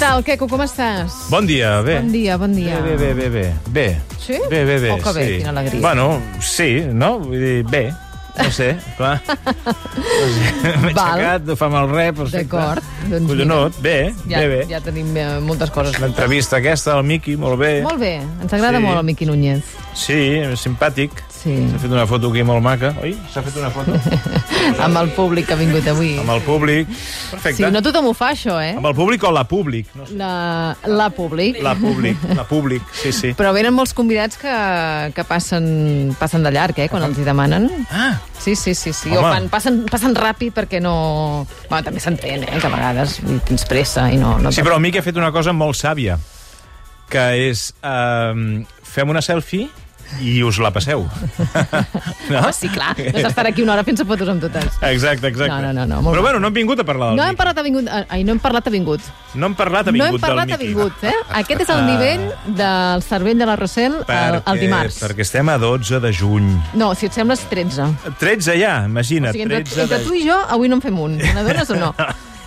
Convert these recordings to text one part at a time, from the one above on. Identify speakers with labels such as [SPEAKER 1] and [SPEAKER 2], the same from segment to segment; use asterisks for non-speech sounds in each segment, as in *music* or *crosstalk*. [SPEAKER 1] Hola, Queco, com estàs?
[SPEAKER 2] Bon dia, bé.
[SPEAKER 1] Bon dia, bon dia.
[SPEAKER 2] Bé, bé, bé, bé, bé. Bé.
[SPEAKER 1] Sí?
[SPEAKER 2] Bé, bé, bé.
[SPEAKER 1] Oh, que bé,
[SPEAKER 2] sí.
[SPEAKER 1] quina alegria.
[SPEAKER 2] Bueno, sí, no? Vull dir, bé. No sé, clar. No
[SPEAKER 1] *laughs*
[SPEAKER 2] sé, M'he
[SPEAKER 1] Val.
[SPEAKER 2] aixecat, no fa mal res, perfecte.
[SPEAKER 1] D'acord, doncs
[SPEAKER 2] Collonot, bé,
[SPEAKER 1] Ja,
[SPEAKER 2] bé, bé.
[SPEAKER 1] ja tenim eh, moltes coses.
[SPEAKER 2] L'entrevista aquesta del Miqui, molt bé.
[SPEAKER 1] Molt bé, ens agrada
[SPEAKER 2] Sí.
[SPEAKER 1] molt el Miqui Núñez.
[SPEAKER 2] Sí, simpàtic.
[SPEAKER 1] Sí,
[SPEAKER 2] S'ha fet una foto aquí molt maca. Oi? S'ha fet una
[SPEAKER 1] *laughs*
[SPEAKER 2] foto
[SPEAKER 1] amb el públic que ha vingut avui.
[SPEAKER 2] amb el públic. Perfecte.
[SPEAKER 1] Sí, no tothom ho fa, això, eh?
[SPEAKER 2] Amb el públic o la públic? No sé.
[SPEAKER 1] La, la públic.
[SPEAKER 2] La públic, la públic, sí, sí.
[SPEAKER 1] Però venen molts convidats que, que passen, passen de llarg, eh, quan els hi demanen.
[SPEAKER 2] Ah,
[SPEAKER 1] Sí, sí, sí, sí. O
[SPEAKER 2] Home.
[SPEAKER 1] fan, passen, passen ràpid perquè no... Bueno, també s'entén, eh, que a vegades vull dir, tens pressa i no... no
[SPEAKER 2] Sí, però el Miqui ha fet una cosa molt sàvia, que és eh, fem una selfie i us la
[SPEAKER 1] *laughs*
[SPEAKER 2] passeu. no?
[SPEAKER 1] Home, sí, clar, no has d'estar aquí una hora fent-se fotos amb totes.
[SPEAKER 2] Exacte, exacte.
[SPEAKER 1] No, no, no, no, molt
[SPEAKER 2] però
[SPEAKER 1] bé.
[SPEAKER 2] bueno, no hem vingut a parlar del
[SPEAKER 1] No hem
[SPEAKER 2] Miqui.
[SPEAKER 1] parlat, ha vingut... eh, Ai, no hem parlat, ha vingut.
[SPEAKER 2] No hem parlat, ha
[SPEAKER 1] No
[SPEAKER 2] vingut
[SPEAKER 1] hem parlat,
[SPEAKER 2] del Ah.
[SPEAKER 1] ha
[SPEAKER 2] Miqui.
[SPEAKER 1] vingut, eh? Aquest és el nivell del cervell de la Rossell el, el dimarts.
[SPEAKER 2] Perquè estem a 12 de juny.
[SPEAKER 1] No, si et sembles, 13.
[SPEAKER 2] 13 ja,
[SPEAKER 1] O
[SPEAKER 2] imagina't.
[SPEAKER 1] sigui, entre,
[SPEAKER 2] 13
[SPEAKER 1] entre
[SPEAKER 2] de...
[SPEAKER 1] tu i jo, avui no en fem un. N'adones o no?
[SPEAKER 2] *laughs*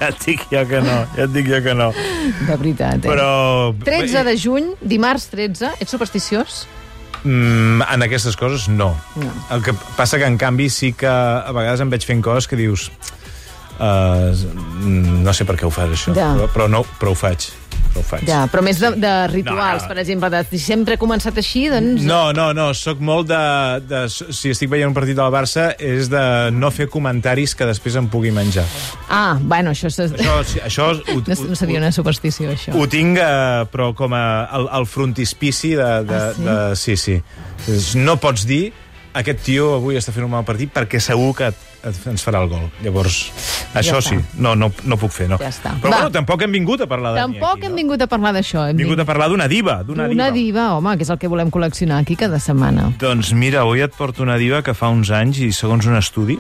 [SPEAKER 2] Ja et dic jo que no, ja et dic jo que no.
[SPEAKER 1] De veritat, eh?
[SPEAKER 2] Però...
[SPEAKER 1] 13 de juny, dimarts 13. Ets supersticiós?
[SPEAKER 2] Mm, en aquestes coses, no.
[SPEAKER 1] No.
[SPEAKER 2] El que passa que, en canvi, sí que a vegades em veig fent coses que dius... Uh, no sé per què ho fas, això,
[SPEAKER 1] Ja.
[SPEAKER 2] però, però, no, però ho faig. Però ho faig.
[SPEAKER 1] Ja, però més de, de rituals,
[SPEAKER 2] No, no.
[SPEAKER 1] per exemple. De, si sempre he començat així, doncs...
[SPEAKER 2] No, no, no, sóc molt de, de... Si estic veient un partit del Barça, és de no fer comentaris que després em pugui menjar.
[SPEAKER 1] Ah, bueno, això és...
[SPEAKER 2] Això, sí, això ho,
[SPEAKER 1] No, no seria una superstició, això.
[SPEAKER 2] ho tinc, eh, però com a, el, el frontispici de... de,
[SPEAKER 1] Ah, sí?
[SPEAKER 2] de sí, sí. És- No pots dir aquest tio avui està fent un mal partit perquè segur que et, et, ens farà el gol. Llavors, això
[SPEAKER 1] està.
[SPEAKER 2] sí, no, no, no puc fer, no.
[SPEAKER 1] Ja està.
[SPEAKER 2] Però
[SPEAKER 1] Va.
[SPEAKER 2] bueno, tampoc hem vingut a parlar de mi
[SPEAKER 1] Tampoc
[SPEAKER 2] aquí,
[SPEAKER 1] hem
[SPEAKER 2] no?
[SPEAKER 1] vingut a parlar d'això. Hem
[SPEAKER 2] Hem vingut a parlar d'una diva, d'una diva.
[SPEAKER 1] Una diva, home, que és el que volem col·leccionar aquí cada setmana.
[SPEAKER 2] Doncs mira, avui et porto una diva que fa uns anys, i segons un estudi,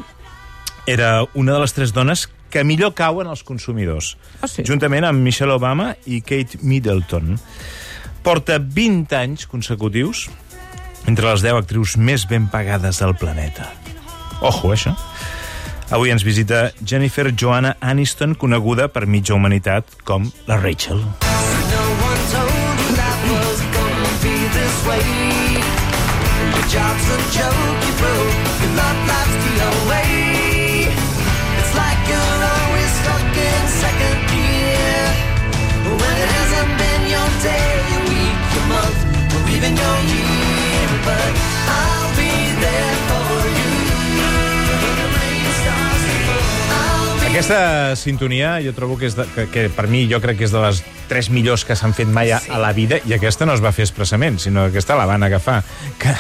[SPEAKER 2] era una de les tres dones que millor cauen als consumidors.
[SPEAKER 1] Ah, sí?
[SPEAKER 2] Juntament amb Michelle Obama i Kate Middleton. Porta 20 anys consecutius entre les 10 actrius més ben pagades del planeta. Ojo, eh, això. Avui ens visita Jennifer Joanna Aniston, coneguda per mitja humanitat com la Rachel.
[SPEAKER 3] No one told you life was gonna be this way. Your job's a joke, you broke. Your love life's the away. It's like you're always stuck in second gear. When it hasn't been your day, your week, your month, or even your year. But I'll be there for you. When the rain starts to fall, I'll be
[SPEAKER 2] Aquesta sintonia jo trobo que és de, que, que per mi jo crec que és de les tres millors que s'han fet mai a, a la vida i aquesta no es va fer expressament, sinó que aquesta la van agafar. Que,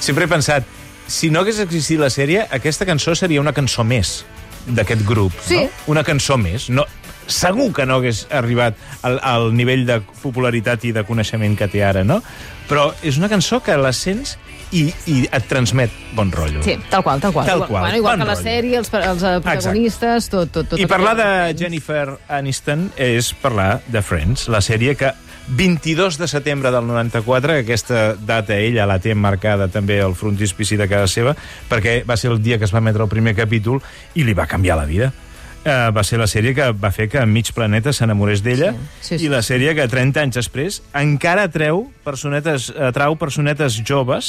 [SPEAKER 2] sempre he pensat, si no hagués existit la sèrie, aquesta cançó seria una cançó més d'aquest grup.
[SPEAKER 1] Sí.
[SPEAKER 2] No? Una cançó més. No, segur que no hagués arribat al, al nivell de popularitat i de coneixement que té ara, no? Però és una cançó que la sents i, i et transmet bon rotllo.
[SPEAKER 1] Sí, tal qual, tal qual.
[SPEAKER 2] Tal qual,
[SPEAKER 1] Bueno, igual
[SPEAKER 2] bon
[SPEAKER 1] que la
[SPEAKER 2] rotllo.
[SPEAKER 1] sèrie, els, els eh, protagonistes, tot, tot, tot.
[SPEAKER 2] I
[SPEAKER 1] tot
[SPEAKER 2] parlar
[SPEAKER 1] aquest-
[SPEAKER 2] de Jennifer Aniston és parlar de Friends, la sèrie que 22 de setembre del 94, que aquesta data ella la té marcada també al frontispici de casa seva, perquè va ser el dia que es va emetre el primer capítol i li va canviar la vida. Uh, va ser la sèrie que va fer que mig planeta s'enamorés d'ella
[SPEAKER 1] Sí, sí, sí.
[SPEAKER 2] i la sèrie que 30 anys després encara treu personetes, atrau personetes joves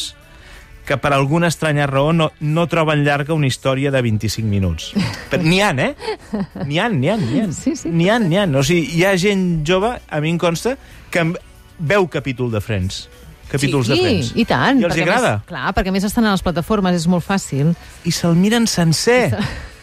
[SPEAKER 2] que per alguna estranya raó no, no troben llarga una història de 25
[SPEAKER 1] *laughs*
[SPEAKER 2] minuts. Però N'hi ha, eh? N'hi ha, n'hi ha, n'hi ha.
[SPEAKER 1] Sí, sí.
[SPEAKER 2] N'hi ha, n'hi ha. O sigui, hi ha gent jove, a mi em consta, que em veu capítol de Friends. Capítols de Friends.
[SPEAKER 1] I tant.
[SPEAKER 2] I els
[SPEAKER 1] perquè
[SPEAKER 2] hi agrada.
[SPEAKER 1] Més, clar, perquè a més estan a les plataformes, és molt fàcil.
[SPEAKER 2] I se'l miren sencer.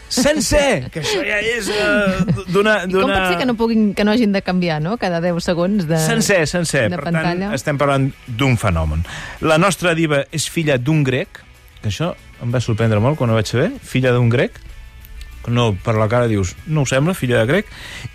[SPEAKER 2] Sencer! Que això ja és eh, d'una...
[SPEAKER 1] I com pot ser que no, puguin, que no hagin de canviar, no?, cada 10 segons de...
[SPEAKER 2] Sencer, sencer.
[SPEAKER 1] de
[SPEAKER 2] Per
[SPEAKER 1] pantalla.
[SPEAKER 2] tant, estem parlant d'un fenomen. La nostra diva és filla d'un grec, que això em va sorprendre molt quan ho vaig saber, filla d'un grec, no, per la cara dius, no ho sembla, filla de grec,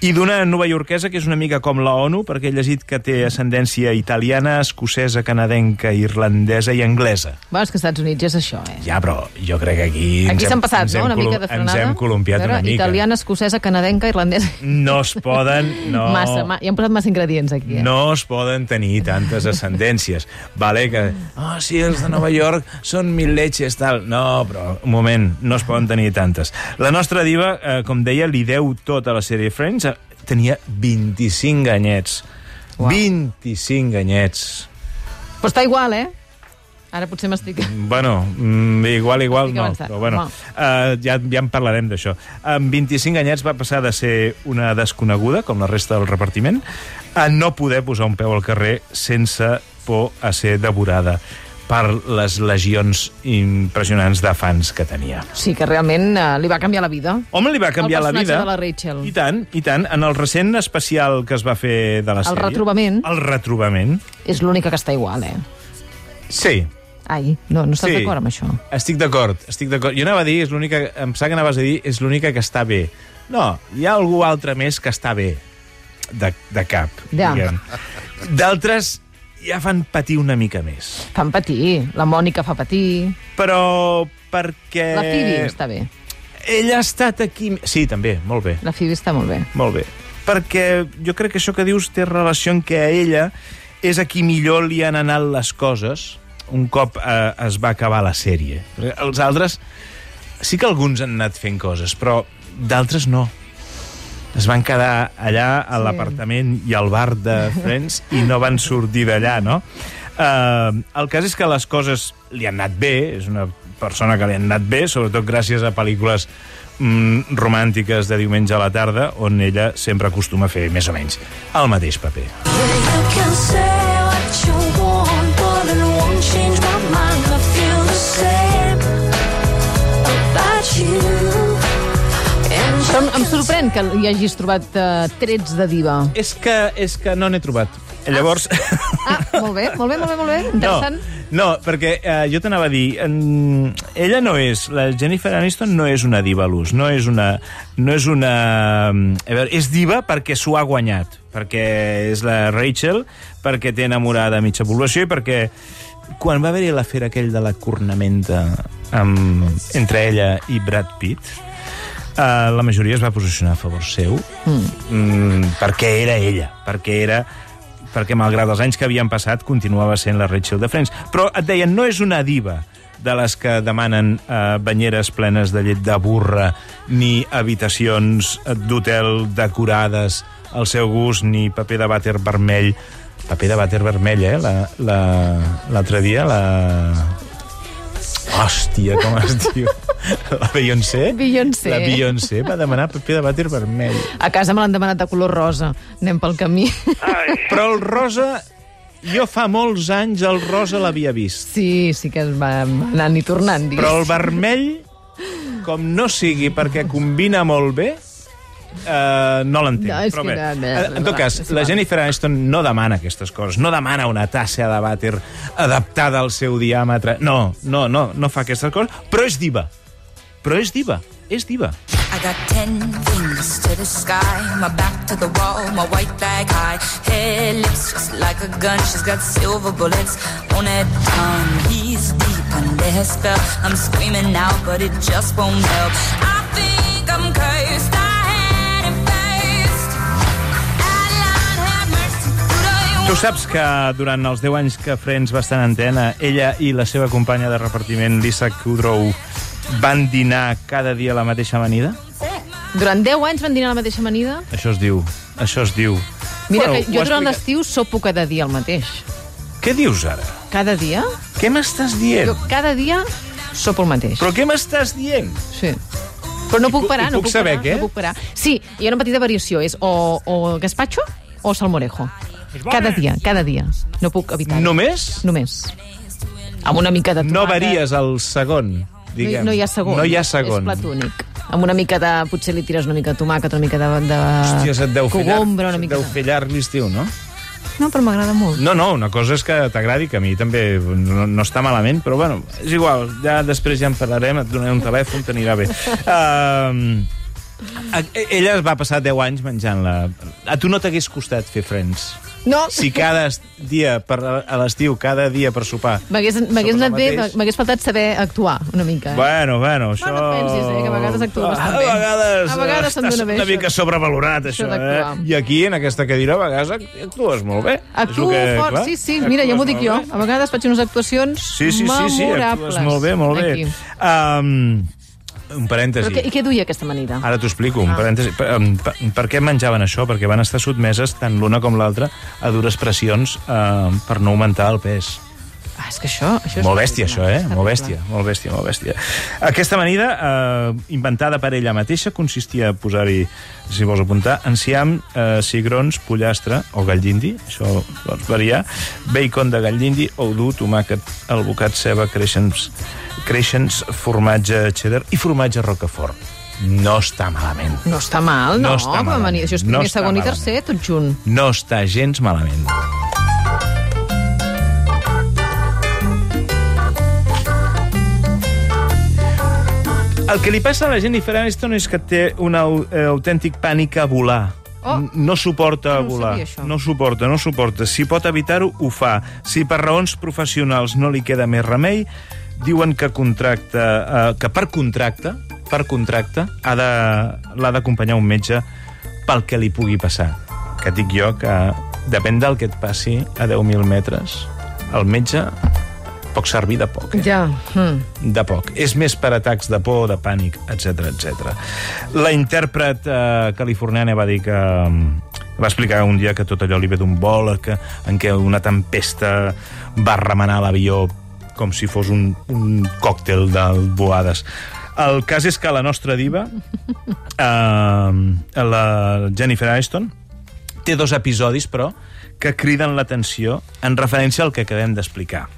[SPEAKER 2] i d'una novaiorquesa que és una mica com la ONU, perquè he llegit que té ascendència italiana, escocesa, canadenca, irlandesa i anglesa.
[SPEAKER 1] Bueno, és que als Estats Units és això, eh?
[SPEAKER 2] Ja, però jo crec que aquí... ens
[SPEAKER 1] Aquí
[SPEAKER 2] hem-
[SPEAKER 1] s'han passat,
[SPEAKER 2] ens
[SPEAKER 1] no?,
[SPEAKER 2] hem
[SPEAKER 1] una mica
[SPEAKER 2] colo-
[SPEAKER 1] de frenada.
[SPEAKER 2] Ens hem columpiat
[SPEAKER 1] A
[SPEAKER 2] una
[SPEAKER 1] veure,
[SPEAKER 2] mica.
[SPEAKER 1] Italiana, escocesa, canadenca, irlandesa...
[SPEAKER 2] No es poden... No.
[SPEAKER 1] *laughs* Massa, ma... hi han posat massa ingredients aquí, eh?
[SPEAKER 2] No es poden tenir tantes ascendències. Vale, que... Ah, oh, sí, els de Nova York són mil leches, tal. No, però, un moment, no es poden tenir tantes. tota La nostra diva, eh, com deia, li deu tot a la sèrie Friends, eh, tenia 25 anyets. Wow. 25 anyets.
[SPEAKER 1] Però està igual, eh? Ara potser m'estic...
[SPEAKER 2] Bueno, mm, igual, igual
[SPEAKER 1] Estic
[SPEAKER 2] no,
[SPEAKER 1] avançant.
[SPEAKER 2] però bueno, uh, ja, ja en parlarem d'això. Amb 25 anyets va passar de ser una desconeguda, com la resta del repartiment, a no poder posar un peu al carrer sense por a ser devorada per les legions impressionants de fans que tenia.
[SPEAKER 1] Sí, que realment eh, li va canviar la vida.
[SPEAKER 2] Home, li va canviar la
[SPEAKER 1] personatge
[SPEAKER 2] vida.
[SPEAKER 1] de la Rachel.
[SPEAKER 2] I tant, i tant. En el recent especial que es va fer de la sèrie...
[SPEAKER 1] retrobament.
[SPEAKER 2] El retrobament.
[SPEAKER 1] És l'única que està igual, eh?
[SPEAKER 2] Sí,
[SPEAKER 1] Ai, no, no estàs
[SPEAKER 2] Sí.
[SPEAKER 1] d'acord amb això?
[SPEAKER 2] Estic d'acord, estic d'acord. Jo anava a dir, és l'única... Em sap que anaves a dir, és l'única que està bé. No, hi ha algú altre més que està bé. De, de cap,
[SPEAKER 1] Ja.
[SPEAKER 2] diguem. D'altres ja fan patir una mica més.
[SPEAKER 1] Fan patir. La Mònica fa patir.
[SPEAKER 2] Però perquè...
[SPEAKER 1] La Phoebe està bé.
[SPEAKER 2] Ella ha estat aquí... Sí, també, molt bé.
[SPEAKER 1] La Phoebe està molt bé.
[SPEAKER 2] Molt bé. Perquè jo crec que això que dius té relació en que a ella és a qui millor li han anat les coses un cop eh, es va acabar la sèrie. Perquè Els altres... Sí que alguns han anat fent coses, però d'altres no. Es van quedar allà a
[SPEAKER 1] Sí.
[SPEAKER 2] l'apartament i al bar de Friends i no van sortir d'allà, no? Eh, el cas és que les coses li han anat bé, és una persona que li han anat bé, sobretot gràcies a pel·lícules mm, romàntiques de diumenge a la tarda, on ella sempre acostuma a fer més o menys el mateix paper.
[SPEAKER 4] You can say what you want, but it won't change my mind. I feel the same about you. And you
[SPEAKER 1] Però em- em
[SPEAKER 4] can
[SPEAKER 1] sorprèn que hi hagis trobat eh, trets de diva.
[SPEAKER 2] És que, és que no n'he trobat. Llavors...
[SPEAKER 1] Ah, molt bé, molt bé, molt bé, molt bé. Ah, Interessant.
[SPEAKER 2] *laughs* No, no perquè eh, jo t'anava a dir, en... ella no és, la Jennifer Aniston no és una diva a l'ús, no és una... No és una... A veure, és diva perquè s'ho ha guanyat, perquè és la Rachel, perquè té enamorada mitja població i perquè quan va haver-hi l'afer aquell de la cornamenta amb, entre ella i Brad Pitt, Uh, la majoria es va posicionar a favor seu mm. Mm, perquè era ella, perquè era perquè malgrat els anys que havien passat continuava sent la Rachel de Friends. Però et deien, no és una diva de les que demanen eh, banyeres plenes de llet de burra, ni habitacions d'hotel decorades al seu gust, ni paper de vàter vermell. Paper de vàter vermell, eh? L'altre la, l'altre dia, la... Hòstia, com es
[SPEAKER 1] *laughs*
[SPEAKER 2] diu? La Beyoncé?
[SPEAKER 1] Beyoncé.
[SPEAKER 2] La Beyoncé va demanar paper de vàter vermell.
[SPEAKER 1] A casa me l'han demanat de color rosa. Anem pel camí. *laughs*
[SPEAKER 2] Però el rosa... Jo fa molts anys el rosa l'havia vist.
[SPEAKER 1] Sí, sí que es va anant i tornant. Digues.
[SPEAKER 2] Però el vermell, com no sigui perquè combina molt bé, Uh, no l'entenc,
[SPEAKER 1] No, és
[SPEAKER 2] però
[SPEAKER 1] que
[SPEAKER 2] bé. Eh,
[SPEAKER 1] no, no,
[SPEAKER 2] En- en tot
[SPEAKER 1] no,
[SPEAKER 2] cas,
[SPEAKER 1] és
[SPEAKER 2] la
[SPEAKER 1] igual.
[SPEAKER 2] Jennifer Aniston no demana aquestes coses, no demana una tassa de vàter adaptada al seu diàmetre, no, no, no, no fa aquestes coses, però és diva, però és diva, és diva.
[SPEAKER 5] I got ten fingers to the sky, my back to the wall, Oh, my white flag high. Her lips just like a gun, she's got silver bullets on her tongue. He's deep under her spell. I'm screaming out, but it just won't help. I think I'm cursed. I had it first. Allah have mercy.
[SPEAKER 2] Tu saps que durant els 10 anys que Friends va estar en antena, ella i la seva companya de repartiment, Lisa Kudrow, van dinar cada dia a la mateixa amanida?
[SPEAKER 1] Durant 10 anys van dinar la mateixa amanida?
[SPEAKER 2] Això es diu, això es diu.
[SPEAKER 1] Mira
[SPEAKER 2] Bueno,
[SPEAKER 1] que
[SPEAKER 2] ho
[SPEAKER 1] jo
[SPEAKER 2] ha
[SPEAKER 1] durant
[SPEAKER 2] explicat.
[SPEAKER 1] l'estiu sopo cada dia el mateix.
[SPEAKER 2] Què dius ara?
[SPEAKER 1] Cada dia?
[SPEAKER 2] Què m'estàs dient?
[SPEAKER 1] Jo cada dia sopo el mateix.
[SPEAKER 2] Però què m'estàs dient?
[SPEAKER 1] Sí. Però no puc
[SPEAKER 2] puc-
[SPEAKER 1] parar,
[SPEAKER 2] i
[SPEAKER 1] no
[SPEAKER 2] puc
[SPEAKER 1] puc
[SPEAKER 2] saber
[SPEAKER 1] parar,
[SPEAKER 2] què?
[SPEAKER 1] no puc parar. Sí, hi ha una petita variació, és o, o gazpacho o salmorejo. Cada dia, cada dia. No puc evitar no.
[SPEAKER 2] Només
[SPEAKER 1] Només. Amb una mica de tomata.
[SPEAKER 2] no varies al segon, diguem.
[SPEAKER 1] No, hi- no hi ha segon.
[SPEAKER 2] No hi ha segon.
[SPEAKER 1] És plat únic. Amb una mica de... Potser li tires una mica de tomàquet, una mica de... de
[SPEAKER 2] Hòstia, se't deu fer llarg,
[SPEAKER 1] cogombra, una
[SPEAKER 2] se't
[SPEAKER 1] mica
[SPEAKER 2] deu
[SPEAKER 1] de...
[SPEAKER 2] fer llarg l'estiu, no?
[SPEAKER 1] No, però m'agrada molt.
[SPEAKER 2] No, no, una cosa és que t'agradi, que a mi també no, no està malament, però bueno, és igual, ja després ja en parlarem, et donaré un telèfon, t'anirà bé. Um, ella es va passar 10 anys menjant-la. A tu no t'hagués costat fer friends?
[SPEAKER 1] No,
[SPEAKER 2] Si cada est- dia, per, a l'estiu, cada dia per sopar...
[SPEAKER 1] m'hagués m'hagués
[SPEAKER 2] Sopes el
[SPEAKER 1] anat bé,
[SPEAKER 2] mateix.
[SPEAKER 1] m'hagués faltat saber actuar una mica. Eh?
[SPEAKER 2] Bueno, bueno, això... Ah,
[SPEAKER 1] Bueno, pensis, eh, que a vegades actua bastant bé.
[SPEAKER 2] A vegades,
[SPEAKER 1] A vegades
[SPEAKER 2] eh,
[SPEAKER 1] se'n dona
[SPEAKER 2] estàs
[SPEAKER 1] bé,
[SPEAKER 2] una
[SPEAKER 1] això.
[SPEAKER 2] mica sobrevalorat, això,
[SPEAKER 1] d'actuar.
[SPEAKER 2] eh? I aquí, en aquesta cadira, a vegades actues molt bé. És el
[SPEAKER 1] Actuo
[SPEAKER 2] que,
[SPEAKER 1] fort,
[SPEAKER 2] clar,
[SPEAKER 1] sí, sí, mira, ja
[SPEAKER 2] actues
[SPEAKER 1] m'ho dic
[SPEAKER 2] molt
[SPEAKER 1] jo.
[SPEAKER 2] bé.
[SPEAKER 1] A vegades faig unes actuacions
[SPEAKER 2] Sí, sí, sí, sí,
[SPEAKER 1] memorables.
[SPEAKER 2] actues molt bé, molt bé.
[SPEAKER 1] Aquí.
[SPEAKER 2] Um, un parèntesi.
[SPEAKER 1] Però Ah. què, i què duia aquesta amanida?
[SPEAKER 2] Ara t'ho explico, un parèntesi. Per, em, per, per què menjaven això? Perquè van estar sotmeses tant l'una com l'altra a dures pressions eh, per no augmentar el pes.
[SPEAKER 1] Ah, és que això... això és
[SPEAKER 2] Molt bèstia, això, eh?
[SPEAKER 1] És
[SPEAKER 2] Molt
[SPEAKER 1] terrible.
[SPEAKER 2] bèstia, molt bèstia, molt bèstia. Aquesta amanida, eh, inventada per ella mateixa, consistia a posar-hi, si vols apuntar, enciam, eh, cigrons, pollastre o gallindi, això pots variar, bacon de gallindi, oudú, tomàquet, albocat, ceba, creixens, creixens, formatge cheddar i formatge roquefort. No està malament.
[SPEAKER 1] No està mal, no.
[SPEAKER 2] No està
[SPEAKER 1] com a
[SPEAKER 2] malament.
[SPEAKER 1] amanida. Això és
[SPEAKER 2] No
[SPEAKER 1] primer,
[SPEAKER 2] està
[SPEAKER 1] segon i
[SPEAKER 2] malament.
[SPEAKER 1] tercer, tot junt.
[SPEAKER 2] No està gens malament. El que li passa a la Jennifer Aniston és que té un au- eh, autèntic pànic a volar.
[SPEAKER 1] Oh.
[SPEAKER 2] N- No suporta
[SPEAKER 1] No
[SPEAKER 2] a
[SPEAKER 1] ho
[SPEAKER 2] volar.
[SPEAKER 1] sabia, això.
[SPEAKER 2] no suporta, no suporta. Si pot evitar-ho, ho fa. Si per raons professionals no li queda més remei, diuen que contracta, eh, que per contracte, per contracte, ha de- l'ha d'acompanyar un metge pel que li pugui passar. Que et dic jo que depèn del que et passi a 10.000 metres, el metge pot servir de poc. Eh?
[SPEAKER 1] Ja. Mm.
[SPEAKER 2] de poc. És més per atacs de por, de pànic, etc etc. La intèrpret eh, californiana va dir que mm, va explicar un dia que tot allò li ve d'un vol que, en què una tempesta va remenar l'avió com si fos un, un còctel de boades. El cas és que la nostra diva, *laughs* eh, la Jennifer Aniston, té dos episodis, però, que criden l'atenció en referència al que acabem d'explicar.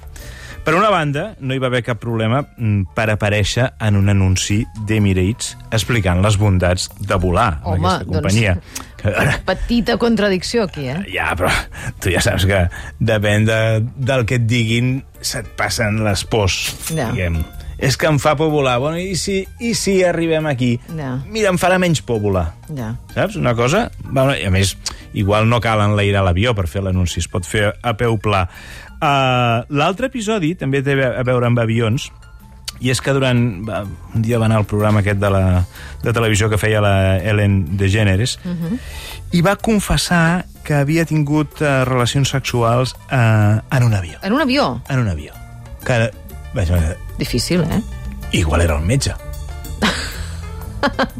[SPEAKER 2] Per una banda, no hi va haver cap problema mm, per aparèixer en un anunci d'Emirates explicant les bondats de volar
[SPEAKER 1] Home,
[SPEAKER 2] amb aquesta
[SPEAKER 1] doncs-
[SPEAKER 2] companyia. Doncs...
[SPEAKER 1] Petita contradicció aquí, eh?
[SPEAKER 2] Ja, però tu ja saps que depèn de, del que et diguin se't passen les pors,
[SPEAKER 1] Ja.
[SPEAKER 2] diguem. És que em fa por volar. Bueno, i si, i si arribem aquí?
[SPEAKER 1] Ja.
[SPEAKER 2] Mira, em farà menys por volar.
[SPEAKER 1] Ja.
[SPEAKER 2] Saps? Una cosa... Bueno, i a més, igual no cal enlairar l'avió per fer l'anunci, es pot fer a peu pla. Uh, L'altre episodi també té a veure amb avions, i és que durant... Va, un dia va anar al programa aquest de, la, de televisió que feia la Ellen DeGeneres, uh
[SPEAKER 1] Mhm.
[SPEAKER 2] -huh. i va confessar que havia tingut uh, relacions sexuals uh, en un avió.
[SPEAKER 1] En un avió.
[SPEAKER 2] En un avió. Que, vaja,
[SPEAKER 1] Difícil, eh?
[SPEAKER 2] igual era el
[SPEAKER 1] *laughs*
[SPEAKER 2] metge.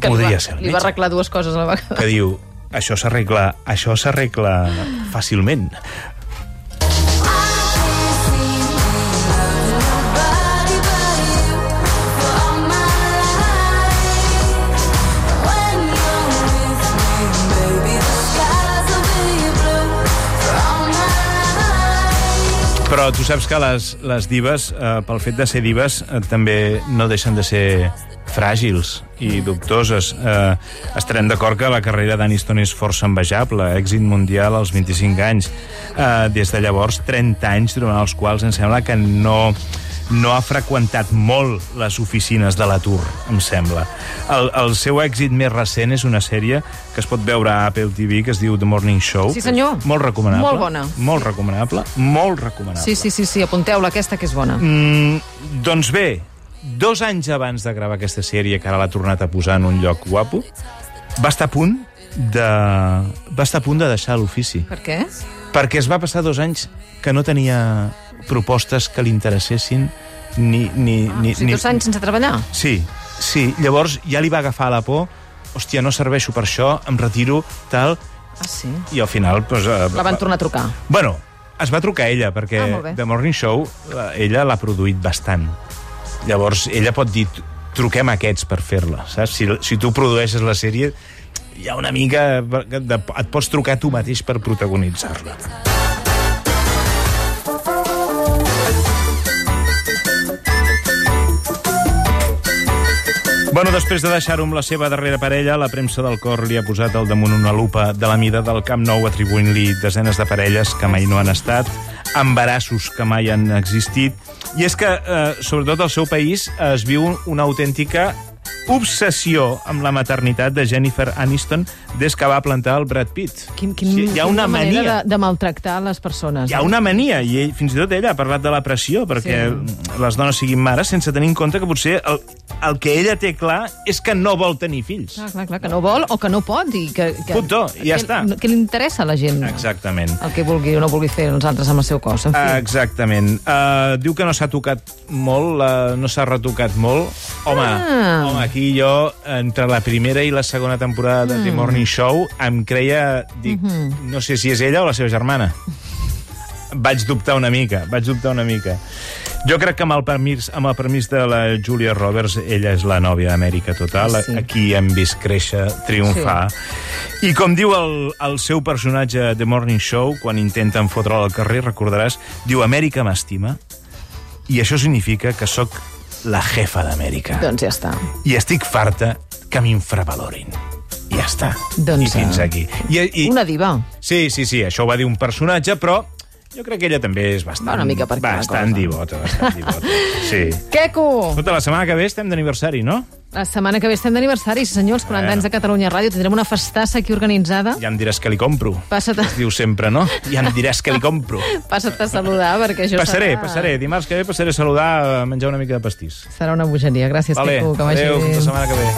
[SPEAKER 1] li
[SPEAKER 2] Podria
[SPEAKER 1] va-
[SPEAKER 2] ser el
[SPEAKER 1] Li va
[SPEAKER 2] metge.
[SPEAKER 1] arreglar dues coses a la vegada.
[SPEAKER 2] que diu això s'arregla això s'arregla fàcilment. Però tu saps que les, les divas, eh, pel fet de ser divas, eh, també no deixen de ser fràgils i dubtoses. Eh, estarem d'acord que la carrera d'Aniston és força envejable, èxit mundial als 25 anys. Eh, des de llavors, 30 anys, durant els quals em sembla que no, no ha freqüentat molt les oficines de l'atur, em sembla. El, el seu èxit més recent és una sèrie que es pot veure a Apple TV, que es diu The Morning Show.
[SPEAKER 1] Sí, senyor.
[SPEAKER 2] Molt recomanable.
[SPEAKER 1] Molt bona.
[SPEAKER 2] Molt recomanable, molt recomanable.
[SPEAKER 1] Sí, sí, sí, sí apunteu-la, aquesta que és bona. Mm.
[SPEAKER 2] Mm, doncs bé, dos anys abans de gravar aquesta sèrie, que ara l'ha tornat a posar en un lloc guapo, va estar a punt de, va estar a punt de deixar l'ofici.
[SPEAKER 1] Per què?
[SPEAKER 2] Perquè es va passar dos anys que no tenia propostes que li interessessin ni... ni,
[SPEAKER 1] Ah,
[SPEAKER 2] ni,
[SPEAKER 1] o sigui,
[SPEAKER 2] ni...
[SPEAKER 1] dos anys sense treballar.
[SPEAKER 2] Sí, sí. Llavors ja li va agafar la por. Hòstia, no serveixo per això, em retiro, tal...
[SPEAKER 1] Ah, sí.
[SPEAKER 2] I al final... Doncs, eh,
[SPEAKER 1] La van
[SPEAKER 2] va-
[SPEAKER 1] tornar a trucar.
[SPEAKER 2] Bueno, es va trucar ella, perquè
[SPEAKER 1] Ah, molt bé.
[SPEAKER 2] The Morning Show eh, ella l'ha produït bastant. Llavors, ella pot dir, truquem aquests per fer-la, saps? Si, si tu produeixes la sèrie, hi ha una mica... que De, et pots trucar tu mateix per protagonitzar-la. Bueno, després de deixar-ho amb la seva darrera parella, la premsa del cor li ha posat al damunt una lupa de la mida del Camp Nou atribuint-li desenes de parelles que mai no han estat, embarassos que mai han existit. I és que, eh, sobretot al seu país, es viu una autèntica obsessió amb la maternitat de Jennifer Aniston des que va plantar el Brad Pitt.
[SPEAKER 1] Quin, quin,
[SPEAKER 2] sí, hi ha
[SPEAKER 1] quina
[SPEAKER 2] una
[SPEAKER 1] manera
[SPEAKER 2] mania.
[SPEAKER 1] De, de maltractar les persones.
[SPEAKER 2] Hi ha una mania, i ell, fins i tot ella ha parlat de la pressió perquè
[SPEAKER 1] Sí.
[SPEAKER 2] sí. les dones siguin mares sense tenir en compte que potser el, el que ella té clar és que no vol tenir fills.
[SPEAKER 1] Clar, clar, clar, que no vol o que no pot i que... que
[SPEAKER 2] Punto, i ja
[SPEAKER 1] que,
[SPEAKER 2] està.
[SPEAKER 1] Que li interessa a la gent
[SPEAKER 2] Exactament.
[SPEAKER 1] el que vulgui o no vulgui fer els altres amb el seu cos. En fi,
[SPEAKER 2] Ah, Exactament. Uh, diu que no s'ha tocat molt, uh, no s'ha retocat molt. Home,
[SPEAKER 1] Ah.
[SPEAKER 2] home, aquí jo, entre la primera i la segona temporada de The
[SPEAKER 1] Mm.
[SPEAKER 2] Morning Show, em creia, dic,
[SPEAKER 1] Mhm.
[SPEAKER 2] no sé si és ella o la seva germana. Vaig dubtar una mica, vaig dubtar una mica. Jo crec que amb el permís, amb el permís de la Julia Roberts, ella és la nòvia d'Amèrica total,
[SPEAKER 1] Sí.
[SPEAKER 2] sí. aquí hem vist créixer, triomfar. Sí. I com diu el, el seu personatge a The Morning Show, quan intenten fotre'l al carrer, recordaràs, diu Amèrica m'estima, i això significa que sóc la jefa d'Amèrica.
[SPEAKER 1] doncs ja està.
[SPEAKER 2] I estic farta que m'infravalorin. I ja està.
[SPEAKER 1] Doncs,
[SPEAKER 2] I fins
[SPEAKER 1] eh,
[SPEAKER 2] aquí. I, i,
[SPEAKER 1] Una diva.
[SPEAKER 2] Sí, sí, sí, això ho va dir un personatge, però jo crec que ella també és bastant...
[SPEAKER 1] Va una mica per aquí la
[SPEAKER 2] Bastant
[SPEAKER 1] cosa.
[SPEAKER 2] divota,
[SPEAKER 1] *laughs*
[SPEAKER 2] bastant divota. Sí.
[SPEAKER 1] Queco!
[SPEAKER 2] Escolta, la setmana que ve estem d'aniversari, no?
[SPEAKER 1] La setmana que ve estem d'aniversari, sí senyor, els 40
[SPEAKER 2] Bueno.
[SPEAKER 1] anys de Catalunya Ràdio. Tindrem una festassa aquí organitzada.
[SPEAKER 2] Ja em diràs que li compro.
[SPEAKER 1] Passa't a,
[SPEAKER 2] Es diu sempre, no? Ja em diràs que li compro.
[SPEAKER 1] passa't a saludar, perquè això
[SPEAKER 2] Passaré,
[SPEAKER 1] serà...
[SPEAKER 2] passaré. Dimarts que ve passaré a saludar, a menjar una mica de pastís.
[SPEAKER 1] Serà una bogeria. Gràcies,
[SPEAKER 2] Vale,
[SPEAKER 1] Queco, que vagi
[SPEAKER 2] adéu,
[SPEAKER 1] bé.
[SPEAKER 2] fins la setmana que ve.